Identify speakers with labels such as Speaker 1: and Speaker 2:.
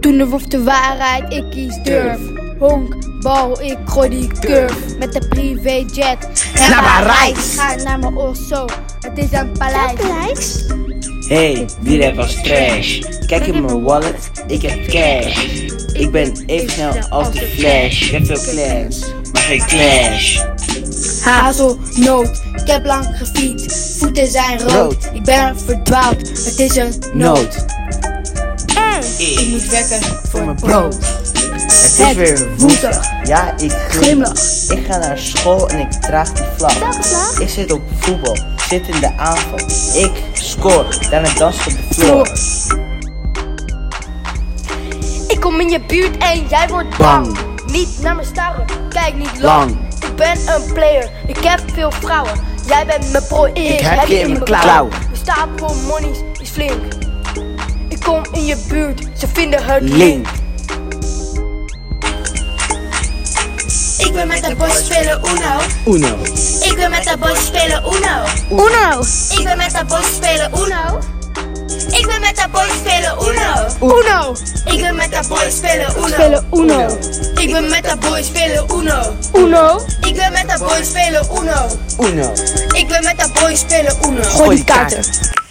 Speaker 1: Toen de of de waarheid, ik kies durf. Honk, bal, ik gooi die curve. Met de privéjet.
Speaker 2: Naar Parijs.
Speaker 1: Ga naar mijn orso, het is een paleis.
Speaker 3: Alex?
Speaker 2: Hey, die rap was trash. Kijk in mijn wallet, ik heb cash. Ik ben even snel als de flash. Ik heb veel clans, maar geen clash.
Speaker 1: Hazelnoot, ik heb lang gefietst. Voeten zijn rood.
Speaker 2: Rood.
Speaker 1: Ik ben verdwaald, het is een
Speaker 2: Nood,
Speaker 1: Ik moet wekken voor mijn
Speaker 2: brood. Het is weer woensdag. Ja, ik
Speaker 1: Glimlach.
Speaker 2: Ik ga naar school en ik draag die vlag.
Speaker 3: Welke vlag?
Speaker 2: Ik zit op voetbal, zit in de aanval. Ik score, daarna dans ik op de floor.
Speaker 1: Ik kom in je buurt en jij wordt bang.
Speaker 2: Bang.
Speaker 1: Niet naar me staren, kijk niet lang.
Speaker 2: Lang.
Speaker 1: Ik ben een player, ik heb veel vrouwen. Jij bent mijn prooi, ik
Speaker 2: heb je in mijn klauwen.
Speaker 1: Mijn stapel monies is flink. Ik kom in je buurt, ze vinden het
Speaker 2: Link,
Speaker 4: Ik wil met de boys spelen Uno.
Speaker 2: Uno,
Speaker 4: Ik wil met de boys spelen Uno.
Speaker 3: Uno.
Speaker 4: Ik wil met de boys spelen Uno. Ik wil met de boys spelen Uno.
Speaker 1: Uno,
Speaker 4: Ik wil met de boys spelen Uno.
Speaker 1: spelen Uno.
Speaker 4: Ik wil met de boys spelen Uno.
Speaker 1: Uno,
Speaker 4: Ik wil met de boys spelen Uno.
Speaker 2: Uno.
Speaker 4: Ik wil met de boys spelen Uno.
Speaker 1: gooi die kaarten.